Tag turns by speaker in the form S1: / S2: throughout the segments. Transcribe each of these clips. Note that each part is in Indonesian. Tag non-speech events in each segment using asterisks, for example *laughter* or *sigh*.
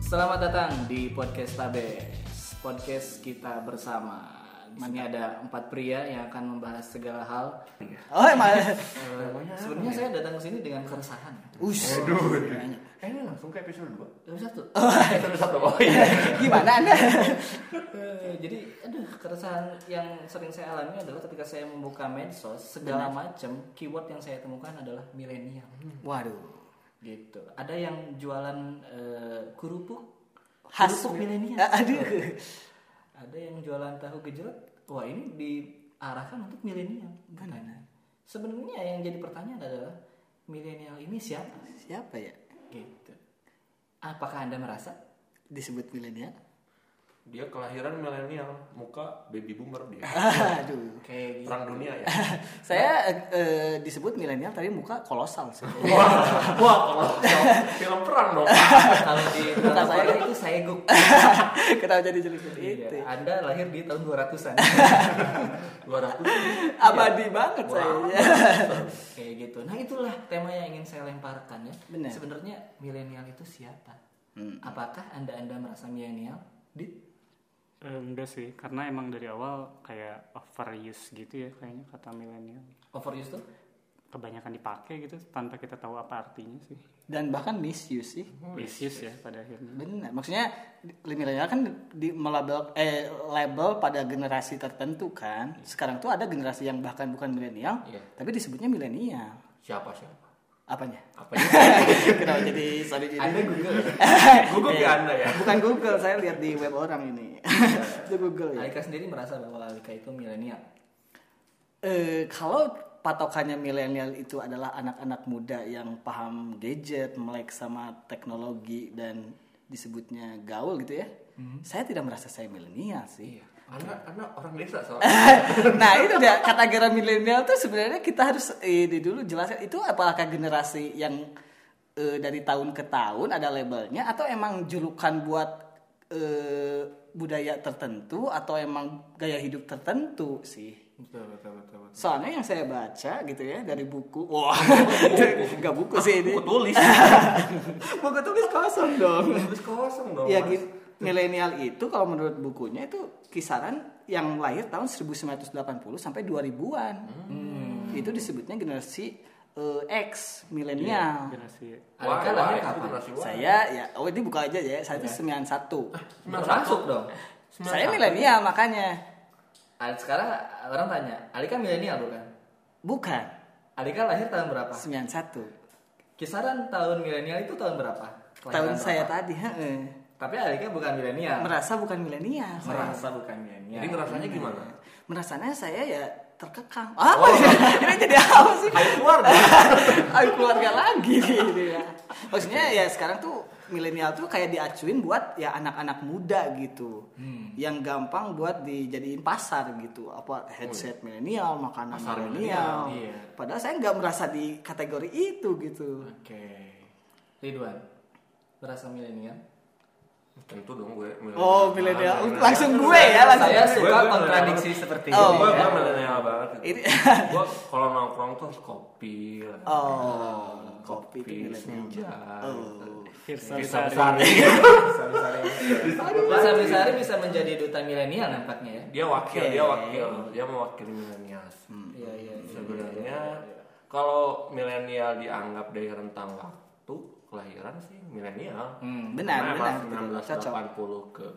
S1: Selamat datang di podcast Tabes, podcast kita bersama. Di sini ada empat pria yang akan membahas segala hal. Iya.
S2: Oh, emang.
S1: Eh, Sebenarnya saya datang ke sini dengan keresahan.
S2: Us.
S3: Aduh. Kayaknya langsung ke episode 2.
S1: Yang *laughs* Satu.
S3: Episode 1. Oh iya.
S2: Gimana Anda?
S1: Eh, Jadi, aduh, keresahan yang sering saya alami adalah ketika saya membuka medsos, segala macam keyword yang saya temukan adalah milenial.
S2: Waduh.
S1: Gitu. Ada yang jualan eh, kerupuk
S2: Khas
S1: kerupuk milenial. Oh.
S2: Ah, Aduh.
S1: ada yang jualan tahu gejrot wah ini diarahkan untuk milenial katanya sebenarnya yang jadi pertanyaan adalah milenial ini siapa
S2: Siapa ya?
S1: gitu apakah anda merasa
S2: Disebut milenial.
S3: Dia kelahiran milenial, muka baby boomer dia.
S2: Ah, Aduh.
S1: kayak
S2: *laughs*
S1: gitu.
S3: Perang dunia ya.
S2: Saya eh, eh, disebut milenial tapi muka kolosal sih.
S3: Wah, kalau film perang dong.
S2: Ah.
S1: kalau di
S2: Kata saya. Gitu.
S1: Korea itu saya guk
S2: *laughs* Kenapa jadi jelek seperti itu?
S1: Iya, anda lahir di tahun
S2: *laughs*
S1: 200-an
S3: 200.
S2: Abadi banget saya.
S1: *laughs* kayak gitu nah itulah tema yang ingin saya lemparkan ya
S2: Benar. Hmm.
S1: sebenarnya milenial itu siapa apakah anda anda merasa milenial di
S4: Eh, enggak sih, karena emang dari awal kayak overuse gitu ya kayaknya kata milenial.
S1: overuse tuh
S4: Kebanyakan dipakai gitu tanpa kita tahu apa artinya sih.
S2: Dan bahkan misuse sih.
S4: Misuse ya pada akhirnya.
S2: Benar. Maksudnya di- milenial kan di melabel eh label pada generasi tertentu kan. Sekarang tuh ada generasi yang bahkan bukan milenial,
S1: Iya.
S2: tapi disebutnya milenial.
S3: Siapa siapa?
S2: Apanya?
S3: Apa
S1: ya?
S3: ini?
S2: *laughs* Kenapa jadi sorry jadi?
S1: anda
S2: *laughs*
S1: Google
S3: Gugup ya Anda ya.
S2: Bukan Google, saya lihat di web orang *laughs* ini. Itu Google ya.
S1: Alika sendiri merasa bahwa Alika itu milenial.
S2: Eh, kalau patokannya milenial itu adalah anak-anak muda yang paham gadget, melek sama teknologi dan disebutnya gaul gitu ya. Saya tidak merasa saya milenial sih.
S3: Anda Anda orang desa soalnya.
S2: *laughs* nah itu dia kata-kata milenial tuh sebenarnya kita harus ini dulu jelaskan itu apakah generasi yang eh, dari tahun ke tahun ada labelnya atau emang julukan buat eh, budaya tertentu atau emang gaya hidup tertentu sih
S1: Betul, betul, betul, betul.
S2: soalnya yang saya baca gitu ya dari buku wah *laughs* nggak buku sih ini
S3: Aku tulis.
S2: *laughs* buku tulis kosong dong
S3: Tulis kosong
S1: Iya,
S3: dong.
S2: Ya
S3: Mas.
S2: gini, milenial itu kalau menurut bukunya itu kisaran yang lahir tahun 1980 sampai 2000-an.
S1: Hmm.
S2: Itu disebutnya generasi eh, X
S1: Iya,
S2: milenial.
S4: Generasi
S3: Wah,
S1: Alika
S3: wah,
S1: lahir
S3: itu
S1: kapan?
S3: generasi wah.
S2: Saya ya, oh ini buka aja ya. Saya itu
S1: Iya. Ah,
S2: 91.
S1: Masuk dong.
S2: Saya milenial makanya.
S1: Al- Sekarang orang tanya, Alika milenial bukan?
S2: Bukan
S1: Alika lahir tahun berapa?
S2: 91.
S1: Kisaran tahun milenial itu tahun berapa? Kelahiran
S2: Tahun saya
S1: berapa?
S2: tadi, heeh.
S1: Tapi Alika bukan milenial.
S2: Merasa bukan milenial. saya.
S1: Merasa bukan milenial.
S3: Jadi ngerasanya
S2: Hmm.
S3: gimana?
S2: Merasanya saya ya terkekang. Apa
S1: Oh.
S2: sih? *laughs* Ini jadi apa sih?
S1: keluarga.
S2: *laughs* Ayo keluarga lagi gitu ya. Maksudnya ya sekarang tuh milenial tuh kayak diacuin buat ya anak-anak muda gitu.
S1: Hmm.
S2: Yang gampang buat dijadiin pasar gitu. Apa headset milenial, makanan
S3: Pasar
S1: Oh, iya.
S2: milenial.
S1: milenial, iya.
S2: Padahal saya nggak merasa di kategori itu gitu.
S1: Oke. Ridwan, merasa milenial?
S3: Tentu dong gue milenial.
S2: Oh, milenial.
S3: Mana?
S2: Langsung gue ya langsung.
S1: Saya
S3: gue-
S1: suka
S3: gue
S1: kontradiksi
S3: milenial.
S1: seperti
S2: Oh,
S1: ini.
S3: Gue
S1: ya.
S3: gue milenial banget.
S2: Ini-
S3: Gue kalau nongkrong tuh harus kopi. lah.
S2: Oh, kopi itu milenial.
S3: senja. gitu.
S2: Oh.
S3: Bisa
S4: Kirsari.
S3: besar.
S1: Mas Abri Sari bisa menjadi duta milenial nampaknya ya.
S3: Dia wakil,
S2: Oke.
S3: dia wakil, dia mewakili milenial.
S2: Hmm.
S1: Iya, iya. iya.
S3: Sebenarnya kalau milenial dianggap dari rentang waktu kelahiran sih milenial.
S1: Hmm.
S2: Benar,
S3: Karena
S2: benar.
S3: emang
S2: betul. Cocok.
S3: 1980 ke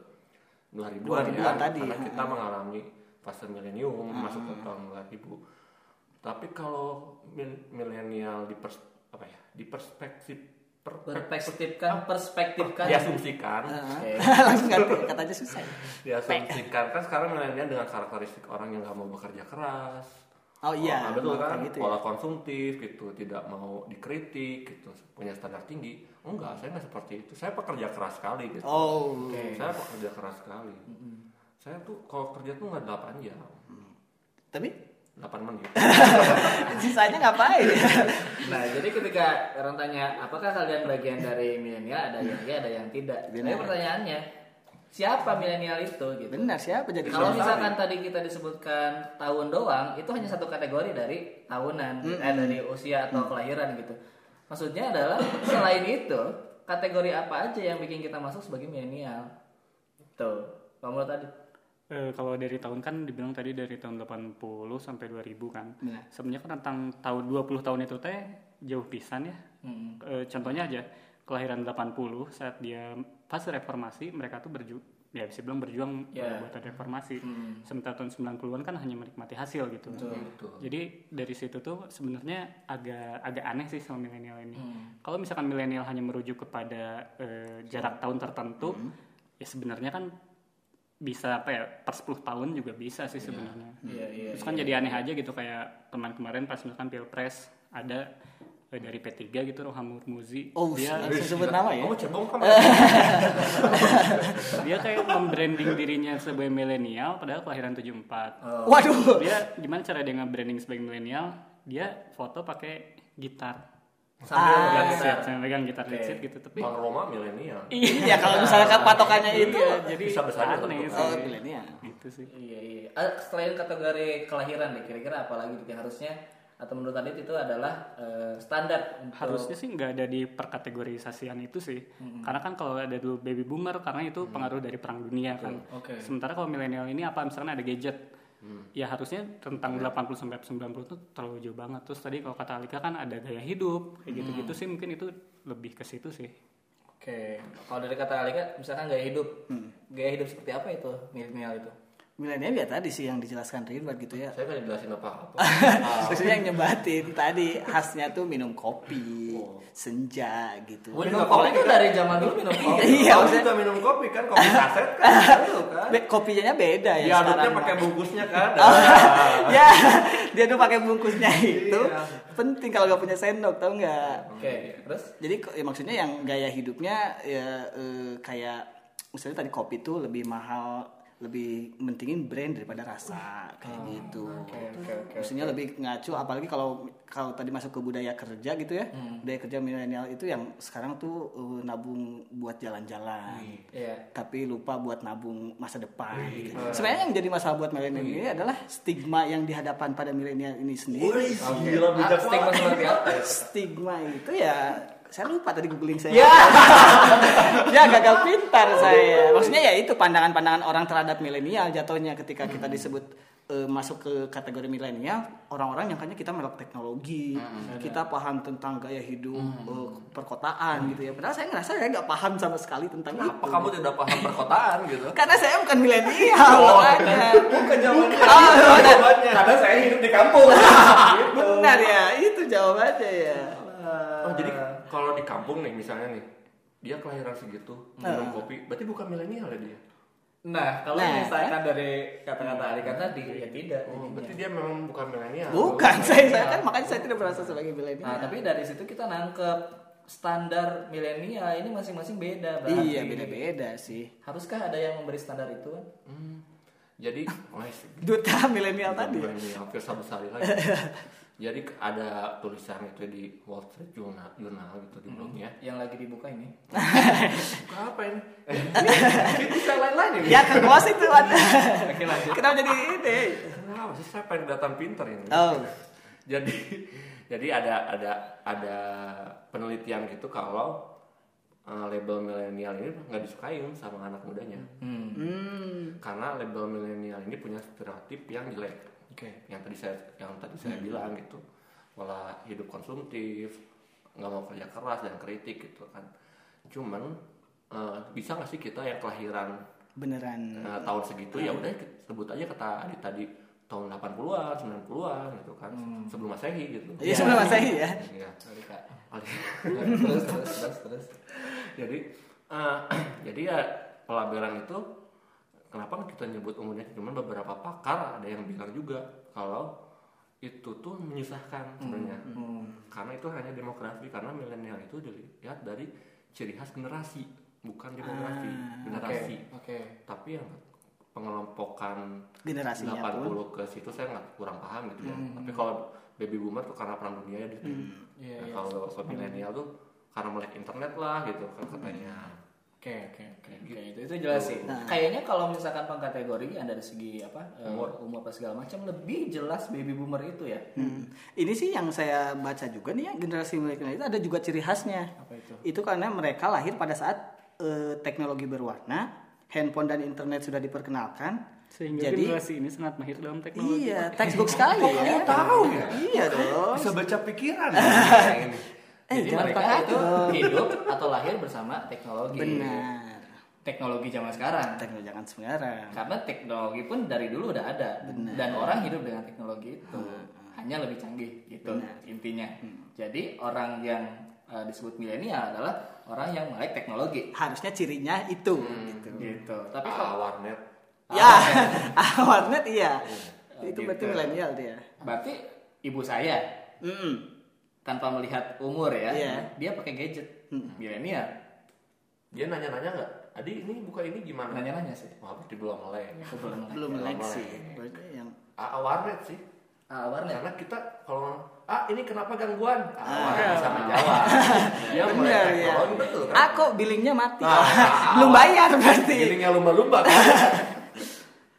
S3: 2000-an
S2: 2000-an
S3: ya.
S2: tadi. Hmm.
S3: Karena kita mengalami fase milenium masuk ke tahun 2000. Tapi kalau mil- milenial di pers- apa ya? Di perspektif per-
S1: Perspektifkan, perspektifkan.
S3: Iya. diasumsikan
S1: Oke.
S2: *laughs* Langsung ganti katanya susah. ya?
S3: diasumsikan kan sekarang milenial dengan karakteristik orang yang nggak mau bekerja keras
S2: Oh iya,
S3: Pola- betul kan
S2: kayak gitu ya.
S3: pola konsumtif gitu tidak mau dikritik gitu punya standar tinggi enggak saya nggak seperti itu saya pekerja keras sekali gitu
S2: Oh.
S3: saya pekerja keras sekali saya tuh kalau kerja tuh nggak 8 jam
S2: Tapi *laughs*
S3: 8 menit
S2: sisanya ngapain *laughs*
S1: Nah, jadi ketika orang tanya apakah kalian bagian dari milenial, ada yang iya, ada yang tidak. Tapi
S2: Benar.
S1: pertanyaannya, siapa milenial itu gitu?
S2: benar siapa jadi
S1: Kalau
S2: milenial?
S1: misalkan tadi kita disebutkan tahun doang, itu hanya satu kategori dari tahunan, eh, dari usia atau kelahiran gitu. Maksudnya adalah selain itu, kategori apa aja yang bikin kita masuk sebagai milenial? Tuh, kalau menurut tadi.
S4: Eh, kalau dari tahun kan dibilang tadi dari tahun 80 sampai 2000 kan. Sebenarnya kan tentang tahun 20 tahun itu teh jauh pisan ya. Eh, contohnya aja kelahiran 80 saat dia pas reformasi mereka tuh berju ya bisa bilang berjuang
S1: Ya.
S4: eh, buat ada reformasi. Sementara tahun 90-an kan hanya menikmati hasil gitu.
S3: Betul.
S4: Jadi dari situ tuh sebenarnya agak agak aneh sih sama milenial ini. Kalau misalkan milenial hanya merujuk kepada eh, jarak tahun tertentu, ya sebenarnya kan bisa apa ya per 10 tahun juga bisa sih sebenarnya.
S1: Iya, iya.
S4: Terus kan jadi aneh aja gitu kayak teman kemarin pas misalkan pilpres ada eh, dari P3 gitu Roham Muzi
S2: Oh,
S4: dia
S2: langsung sebut nama ya.
S3: Kamu cebong kan?
S4: *laughs* dia kayak membranding dirinya sebagai milenial padahal kelahiran 74.
S1: Oh.
S2: Waduh.
S4: Dia gimana cara dia nge-branding sebagai milenial? Dia foto pakai gitar.
S1: Sambil megang
S4: Lead
S1: gitar.
S4: sheet, saya megang gitar lead
S1: Oke.
S4: sheet gitu tapi
S3: Bang Roma milenial.
S2: Iya, kalau misalkan patokannya itu
S4: Iya, jadi
S3: Bisa besar
S4: aneh
S3: gitu.
S4: sih.
S2: oh, milenial.
S4: Gitu sih.
S1: Iya, iya. Ah, Selain kategori kelahiran deh, kira-kira apa lagi yang harusnya atau menurut tadi itu adalah eh, standar untuk
S4: Harusnya sih nggak ada di perkategorisasian itu sih. Karena kan kalau ada dulu baby boomer karena itu pengaruh dari perang dunia kan.
S1: Oke.
S4: Sementara kalau milenial ini apa misalnya ada gadget.
S2: Hmm.
S4: Ya harusnya
S2: Iya.
S4: tentang 80 sampai 90 tuh terlalu jauh banget. Terus tadi kalau kata Alika kan ada gaya hidup kayak gitu-gitu sih mungkin itu lebih ke situ sih.
S1: Oke, kalau dari kata Alika, misalkan gaya hidup, gaya hidup seperti apa itu milenial itu?
S2: Milenial ya tadi sih yang dijelaskan Ridwan gitu ya.
S3: Saya kan jelasin apa-apa.
S2: Eh. *laughs* Maksudnya yang nyebatin tadi khasnya tuh minum kopi, senja gitu.
S3: Gua
S1: Minum
S3: juga
S1: kopi
S3: kopi kan?
S1: itu dari zaman dulu minum
S3: *laughs*
S1: kopi.
S2: Iya,
S3: Kamu
S2: maksudnya-
S3: juga minum kopi kan, kopi kaset
S2: *laughs*
S3: kan, lu kan.
S2: Be- kopinya beda ya.
S3: Diaduknya
S2: sekarang.
S3: pakai bungkusnya
S2: *laughs*
S3: kan.
S2: ya, dia tuh pakai bungkusnya itu
S3: Iya.
S2: penting kalau nggak punya sendok tau nggak?
S1: Oke, terus?
S2: Jadi ko- ya maksudnya yang gaya hidupnya ya eh, kayak misalnya tadi kopi tuh lebih mahal, lebih mentingin brand daripada rasa kayak gitu. maksudnya lebih ngacu apalagi kalau kalau tadi masuk ke budaya kerja gitu ya. Budaya kerja milenial itu yang sekarang tuh eh, nabung buat jalan-jalan.
S1: Iya.
S2: Tapi lupa buat nabung masa depan. gitu. Sebenarnya yang jadi masalah buat milenial ini adalah stigma yang dihadapan pada milenial ini sendiri.
S3: Gila
S1: Ah, stigma seperti apa?
S2: Stigma itu ya saya lupa tadi googling saya. *laughs* Ya, gagal pintar saya. Maksudnya ya itu pandangan-pandangan orang terhadap milenial jatuhnya ketika kita
S3: Hmm.
S2: disebut eh, masuk ke kategori milenial, orang-orang nyangkanya kita melek teknologi,
S3: Hmm.
S2: kita paham tentang gaya hidup eh, perkotaan gitu ya. Padahal saya ngerasa saya nggak paham sama sekali tentang
S3: Apa
S2: itu.
S3: kamu tidak paham perkotaan gitu?
S2: Karena saya bukan
S3: *laughs*
S2: milenial,
S3: Oh.
S2: makanya.
S3: Bukan jawabannya.
S2: Ah,
S1: iya.
S2: benar.
S3: Karena saya hidup di kampung.
S1: Nah,
S3: *laughs*
S2: Benar ya, itu jawabannya ya.
S3: Oh, jadi kalau di kampung nih misalnya nih, dia kelahiran segitu,
S2: Eh.
S3: minum kopi, berarti bukan milenial ya dia.
S1: Nah, kalau
S2: Nah.
S1: misalkan dari kata-kata Alika tadi, ya tidak.
S3: Oh, berarti dia memang bukan milenial.
S2: Bukan saya, saya kan makanya saya tidak merasa sebagai milenial.
S1: Nah, tapi dari situ kita nangkep standar milenial ini masing-masing beda berarti.
S2: Iya beda-beda sih.
S1: Haruskah ada yang memberi standar itu kan?
S3: Hmm. Jadi, wes,
S2: Duta milenial tadi. ya?
S3: Bukan ini, hampir sama sekali lagi. Jadi ada tulisan itu di Wall Street Journal, Journal gitu di blognya.
S1: Yang lagi dibuka ini.
S3: Buka apa *laughs* ini? Eh, Itu yang lain-lain ini.
S2: Ya ke bos itu ada.
S1: Oke, lanjut.
S2: Kenapa jadi ini?
S3: Kenapa sih saya pengen datang pinter ini?
S2: Oh.
S3: Jadi jadi ada ada ada penelitian gitu kalau eh, label milenial ini nggak disukain sama anak mudanya
S1: Hmm.
S2: Hmm.
S3: karena label milenial ini punya stereotip yang jelek
S1: Oke.
S3: yang tadi saya yang tadi saya bilang gitu pola hidup konsumtif nggak mau kerja keras dan kritik gitu kan cuman eh, bisa nggak sih kita yang kelahiran
S2: Beneran.
S3: eh, tahun segitu ya udah sebut aja kata Adi tadi tahun 80-an 90-an gitu kan sebelum masehi gitu
S2: Hmm. Iya sebelum masahi ya.
S3: Iya.
S1: Alika.
S3: Alih-
S1: terus, terus, terus, terus.
S3: jadi eh, *clears throat* jadi ya pelabelan itu kenapa kita nyebut umurnya cuman beberapa pakar ada yang bilang juga kalau itu tuh menyusahkan sebenarnya
S2: Hmm,
S3: karena itu hanya demografi karena milenial itu dilihat dari ciri khas generasi bukan demografi
S2: Ah,
S3: generasi
S1: Oke.
S3: tapi yang pengelompokan
S2: Generasinya
S3: 80
S2: pun. Hmm.
S3: ke situ saya nggak kurang paham gitu ya tapi kalau baby boomer tuh karena perang dunia ya di
S1: Iya,
S3: Nah,
S1: iya.
S3: kalau
S2: Hmm.
S3: ke milenial tuh karena melek internet lah gitu kan katanya
S2: Hmm. Gitu.
S1: Oke, oke, oke. oke. Itu, itu itu jelasin.
S2: Nah.
S1: Kayaknya kalau misalkan pengkategorian dari segi apa umur umur apa segala macam lebih jelas baby boomer itu ya.
S2: Hmm. Ini sih yang saya baca juga nih ya generasi milenial itu ada juga ciri khasnya.
S1: Apa itu?
S2: karena mereka lahir pada saat eh, teknologi berwarna, handphone dan internet sudah diperkenalkan.
S4: Sehingga
S2: Jadi-
S4: generasi ini sangat mahir dalam teknologi.
S2: Iya, textbook sekali ya.
S3: tahu ya?
S2: Iya dong.
S3: Bisa baca
S2: *laughs*
S3: pikiran. Ini.
S2: Eh,
S1: Jadi
S2: jangan
S1: mereka
S2: pakai
S1: itu hidup atau lahir bersama teknologi.
S2: Benar.
S1: Teknologi zaman sekarang.
S2: Teknologi jangan sembarang.
S1: Karena teknologi pun dari dulu udah ada dan orang hidup dengan teknologi itu
S2: Ah,
S1: hanya lebih canggih gitu intinya.
S2: Hmm.
S1: Jadi orang yang eh, disebut milenial adalah orang yang melek teknologi
S2: Harusnya cirinya itu gitu.
S1: gitu. Tapi kalau
S3: Ah, warnet.
S2: Ya,
S3: Ah.
S2: *laughs* warnet iya.
S3: Oh,
S2: itu
S1: gitu.
S2: berarti milenial dia.
S1: berarti ibu saya
S2: Mm-mm.
S1: tanpa melihat umur ya,
S2: Iya.
S1: dia pakai gadget Ya, milenial.
S3: Dia nanya-nanya nggak? Adi ini buka ini gimana?
S1: Nanya-nanya sih.
S3: Wah, berarti belum melek.
S1: Sebelum
S2: Belum
S3: Belum
S2: like
S3: melek.
S2: sih. Berarti yang
S3: Ah, warnet sih.
S1: Ah, warnet.
S3: Karena kita kalau ah ini kenapa gangguan? Ah, warnet bisa
S2: *laughs*
S3: menjawab. Dia mulai
S2: Benar, ya.
S3: teknologi betul kan?
S2: Ah kok billingnya mati.
S3: Ah, ah,
S2: *laughs* Belum
S3: ah.
S2: bayar berarti.
S3: Gilingnya lumba-lumba
S2: *laughs*
S3: kan?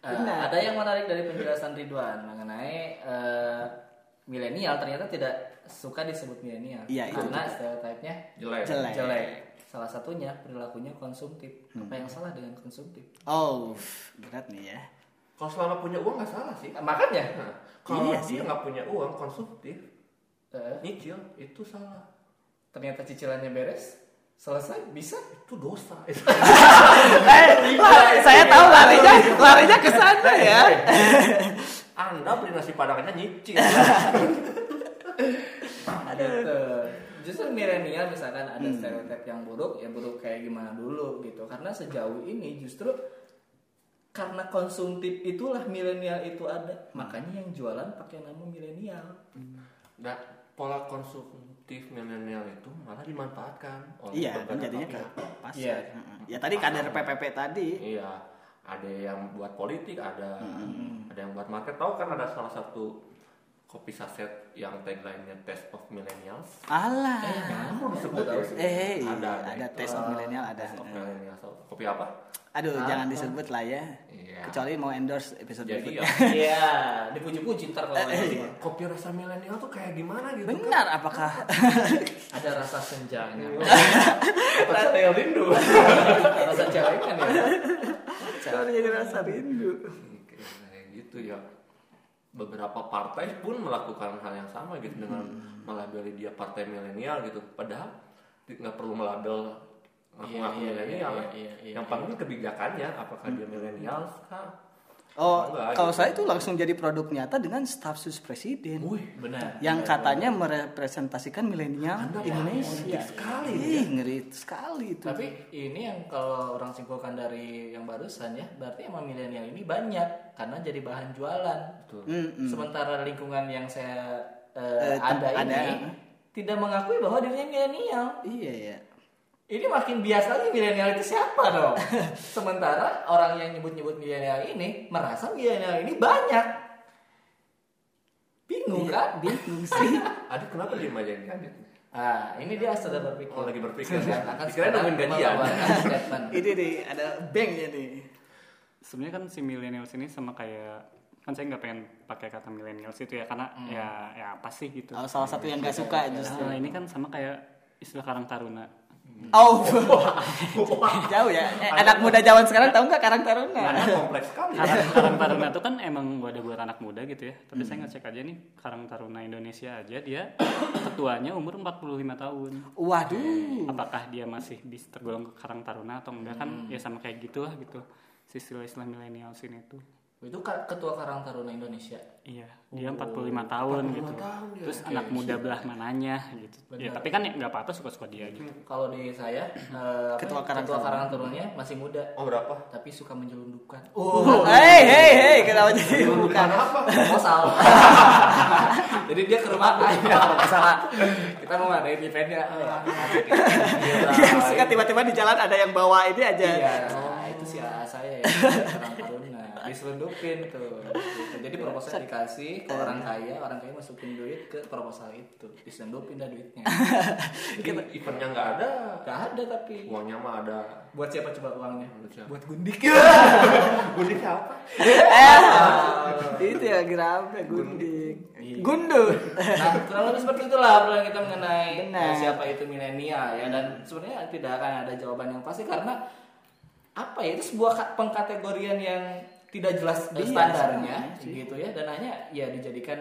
S1: Eh, ada yang menarik dari penjelasan Ridwan mengenai eh, milenial ternyata tidak suka disebut milenial
S2: Iya, itu
S1: karena stereotipnya
S3: Jelek.
S2: Jelek.
S1: jelek. Hmm. Salah satunya perilakunya konsumtif. Apa yang salah dengan konsumtif?
S2: Oh, berat
S3: *laughs*
S2: nih ya.
S3: Kalau selama punya uang nggak salah sih.
S1: Eh, Makanya
S3: Nah, kalau
S2: Iya sih.
S3: dia nggak punya uang konsumtif,
S1: eh,
S3: nyicil itu salah.
S1: ternyata cicilannya beres, selesai bisa.
S3: Itu dosa.
S2: eh, lah, saya tahu larinya larinya ke sana
S3: *laughs*
S2: ya.
S3: Anda beli nasi padang aja *laughs* nyicil.
S1: Ada tuh. Justru milenial misalkan ada
S2: Hmm.
S1: stereotip yang buruk, ya buruk kayak gimana dulu gitu. Karena sejauh ini justru karena konsumtif itulah milenial itu ada. Makanya yang jualan pakai nama milenial.
S3: nah, pola konsumtif milenial itu malah dimanfaatkan oleh
S2: Iya, kan
S3: beberapa
S2: jadinya ke
S3: pihak.
S2: pasar.
S1: Iya.
S2: Heeh. Ya tadi kader PPP tadi.
S3: Iya, ada yang buat politik, ada ada yang buat market. Tahu kan ada salah satu kopi saset yang tagline-nya Taste of Millennials.
S2: Alah.
S1: Ah.
S3: Kamu disebut ya?
S2: Eh, iya,
S3: Eh, ada,
S2: ada,
S3: ada, itu.
S2: tes of milenial ada.
S3: Taste of Millennials. Kopi apa?
S2: Aduh, jangan disebut lah ya.
S3: Iya.
S2: Kecuali mau endorse episode
S3: Jadi
S2: berikutnya.
S3: ya,
S1: Iya, dipuji-puji ntar
S2: Eh,
S1: kalau
S2: iya.
S1: ada.
S3: kopi rasa milenial tuh kayak gimana gitu kan?
S2: Benar, apakah
S1: ada rasa senjanya.
S2: Iya.
S3: Rasa yang rindu.
S1: rasa celengan ya.
S2: Baru jadi rasa rindu.
S3: Iya, Kayak gitu ya. Beberapa partai pun melakukan hal yang sama gitu dengan
S1: Hmm.
S3: melabeli dia partai milenial gitu. Padahal di- nggak perlu melabel ngaku-ngaku
S1: Iya, iya,
S3: milenial. ya.
S1: iya, iya, iya, Hmm.
S3: yang penting kebijakannya apakah dia milenial kah?
S2: Oh,
S3: Enggak,
S2: kalau
S3: gitu.
S2: saya itu langsung jadi produk nyata dengan staf sus presiden
S3: Wih,
S1: Benar.
S2: yang katanya merepresentasikan milenial
S3: Anda
S2: Indonesia.
S3: politik sekali,
S2: Ih, ngeri sekali itu.
S1: Tapi ini yang kalau orang simpulkan dari yang barusan ya, berarti emang milenial ini banyak karena jadi bahan jualan.
S2: Hmm,
S1: Sementara lingkungan yang saya eh,
S2: Eh, tem-
S1: ada ini
S2: ada.
S1: tidak mengakui bahwa dirinya milenial.
S2: iya ya.
S1: Ini makin bias lagi milenial itu siapa
S2: *laughs*
S1: dong? Sementara orang yang nyebut-nyebut milenial ini merasa milenial ini banyak. Bingung kan?
S2: Iya,
S1: *laughs*
S2: Bingung sih.
S3: Aduh kenapa dia aja ini? Adit?
S1: Ah, ini dia sudah berpikir.
S3: Oh, lagi berpikir.
S1: Akan
S3: Pikirannya
S1: segera
S3: nungguin gajian.
S1: mengeluarkan statement.
S2: ini nih ada banknya nih.
S4: Sebenarnya kan si millennials ini sama kayak kan saya nggak pengen pakai kata millennials itu ya karena ya ya apa sih gitu.
S2: Oh, salah satu yang gak suka justru.
S4: Nah, ini kan sama kayak istilah karang taruna.
S2: Oh, *laughs* jauh ya. Eh, anak muda zaman sekarang tahu nggak Karang Taruna?
S3: Karena kompleks sekali.
S4: Karang, *laughs* Karang taruna itu kan emang wadah buat anak muda gitu ya. Tapi saya ngecek aja nih karang taruna Indonesia aja dia *coughs* ketuanya umur 45 tahun.
S2: Waduh.
S4: apakah dia masih bisa tergolong ke karang taruna atau enggak kan ya sama kayak gitu lah gitu si istilah-istilah milenial sini tuh
S1: Itu ka- ketua Karang Taruna Indonesia.
S4: iya dia 45 tahun gitu terus anak muda belah mananya gitu ya tapi kan ya nggak apa-apa suka-suka dia gitu
S1: Kalau di saya eh, apa
S2: Ketua
S1: ya,
S2: Karang
S1: ketua
S2: Taruna.
S1: Karang Tarunanya masih muda
S3: Oh berapa?
S1: tapi suka menjelundupkan.
S2: Oh, hey, hey, hey, kenapa jadi
S3: Bukan apa?
S1: Proposal. Oh, *laughs* Jadi dia ke *laughs* rumah Oh, ya, salah. Kita mau ngadain eventnya.
S2: Iya, suka tiba-tiba di jalan ada yang bawa ini aja.
S1: Iya.
S2: Nah,
S1: itu
S2: itu
S1: si AA saya ya orang Taruna diselundupin tuh gitu. jadi proposal dikasih ke orang kaya orang kaya masukin duit ke proposal itu diselundupin dah *laughs* duitnya
S3: Jadi eventnya nggak ada,
S1: gak ada tapi
S3: uangnya mah ada.
S1: buat siapa coba uangnya
S3: Buat siapa?
S1: buat *laughs* gundik ya
S3: Gundik apa?
S2: Eh, itu ya rame gundik gundul
S1: nah kurang lebih seperti itulah obrolan kita mengenai
S2: Benar.
S1: eh, siapa itu milenial ya dan sebenarnya tidak akan ada jawaban yang pasti karena apa ya itu sebuah ka- pengkategorian yang tidak jelas eh,
S2: Iya,
S1: standarnya
S2: sebenarnya sih.
S1: gitu ya dan hanya ya dijadikan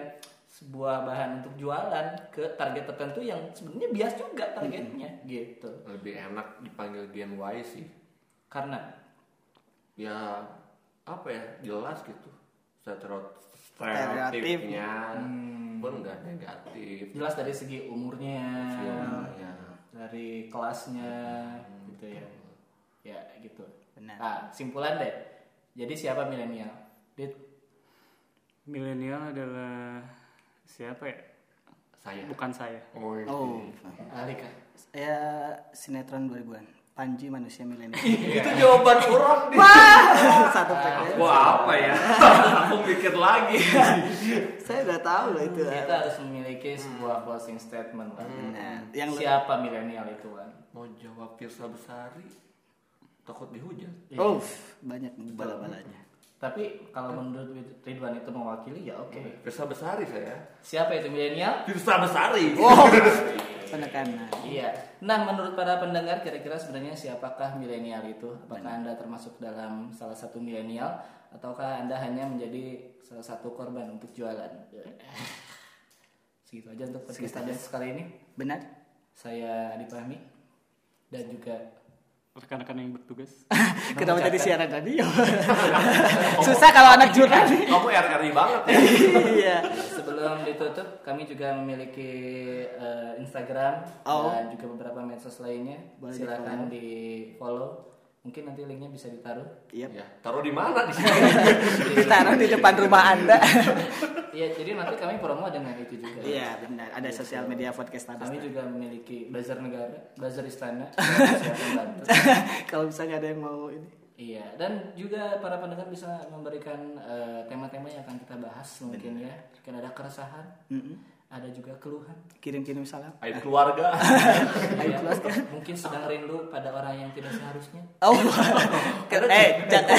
S1: sebuah bahan untuk jualan ke target tertentu yang sebenarnya bias juga targetnya gitu
S3: Lebih enak dipanggil Gen Y sih.
S1: karena
S3: Ya apa ya jelas gitu. Stereo-
S2: Stereotip.
S3: Stereotipnya pun nggak negatif. Ya,
S1: jelas dari segi umurnya
S2: Iya.
S1: Iya.
S3: Filmnya.
S1: dari kelasnya gitu ya ya gitu
S2: Benar.
S1: nah simpulan deh jadi siapa milenial Dit,
S4: milenial adalah siapa ya
S3: Saya.
S4: bukan saya
S3: Oh,
S2: oh
S1: Alika
S2: ya sinetron 2000-an Panji manusia milenial
S3: itu jawaban orang di.
S2: *laughs* satu paket
S3: Aku apa ya? Aku mikir lagi. *laughs*
S2: saya udah tahu loh itu
S1: kita harus memiliki sebuah closing statement Wan.
S2: Nah, yang
S1: siapa milenial itu Wan?
S3: Mau jawab Firsa Besari takut dihujat.
S2: oh banyak bala-balanya
S1: tapi kalau menurut Ridwan itu mewakili ya oke
S3: Firsa Besari saya.
S1: siapa itu milenial
S3: Firsa Besari.
S2: penekanan
S1: iya nah menurut para pendengar kira-kira sebenarnya siapakah milenial itu apakah anda termasuk dalam salah satu milenial ataukah anda hanya menjadi salah satu korban untuk jualan segitu aja untuk podcast Anda sekali ini
S2: benar
S1: saya dipahami dan juga
S4: rekan-rekan yang bertugas
S2: kenapa jadi siaran *laughs* radio susah kalau anak jurnalis
S3: *laughs* Kamu RRI banget ya.
S2: iya
S1: eh, sebelum ditutup kami juga memiliki eh, Instagram
S2: Oh.
S1: dan juga beberapa medsos lainnya
S2: Boleh
S1: silakan di follow mungkin nanti linknya bisa ditaruh
S2: Yep.
S3: Ya, taruh di mana di sini?
S2: Iya. ditaruh di depan rumah anda
S1: Iya jadi nanti kami promo dengan itu juga
S2: iya benar ada sosial media podcast
S1: kami
S2: tadi
S1: juga memiliki bazar negara bazar
S2: *laughs*
S1: istana Silakan bantu.
S2: kalau misalnya ada yang mau ini
S1: Iya, dan juga para pendengar bisa memberikan eh, tema-tema yang akan kita bahas mungkin ya. Mungkin ada keresahan, ada juga keluhan.
S2: kirim-kirim salam
S3: Aib keluarga.
S1: Iya, mungkin sedang rindu pada orang yang tidak seharusnya.
S2: *laughs* oh eh *laughs* jangan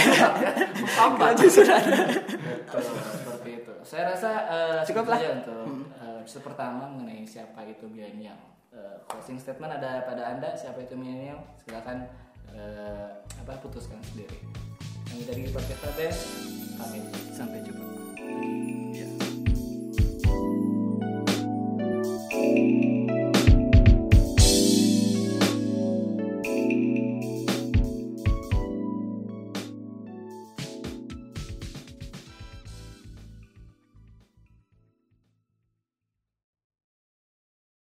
S2: Kalau sudah ada.
S1: Betul, seperti itu. Saya rasa eh,
S2: Cukup
S1: segitu aja untuk eh, episode pertama mengenai siapa itu milenial. Eh, closing statement ada pada anda siapa itu milenial? Silakan eh, apa putuskan sendiri. Kami dari Podcast Best, pamit.
S2: sampai jumpa
S1: Yes.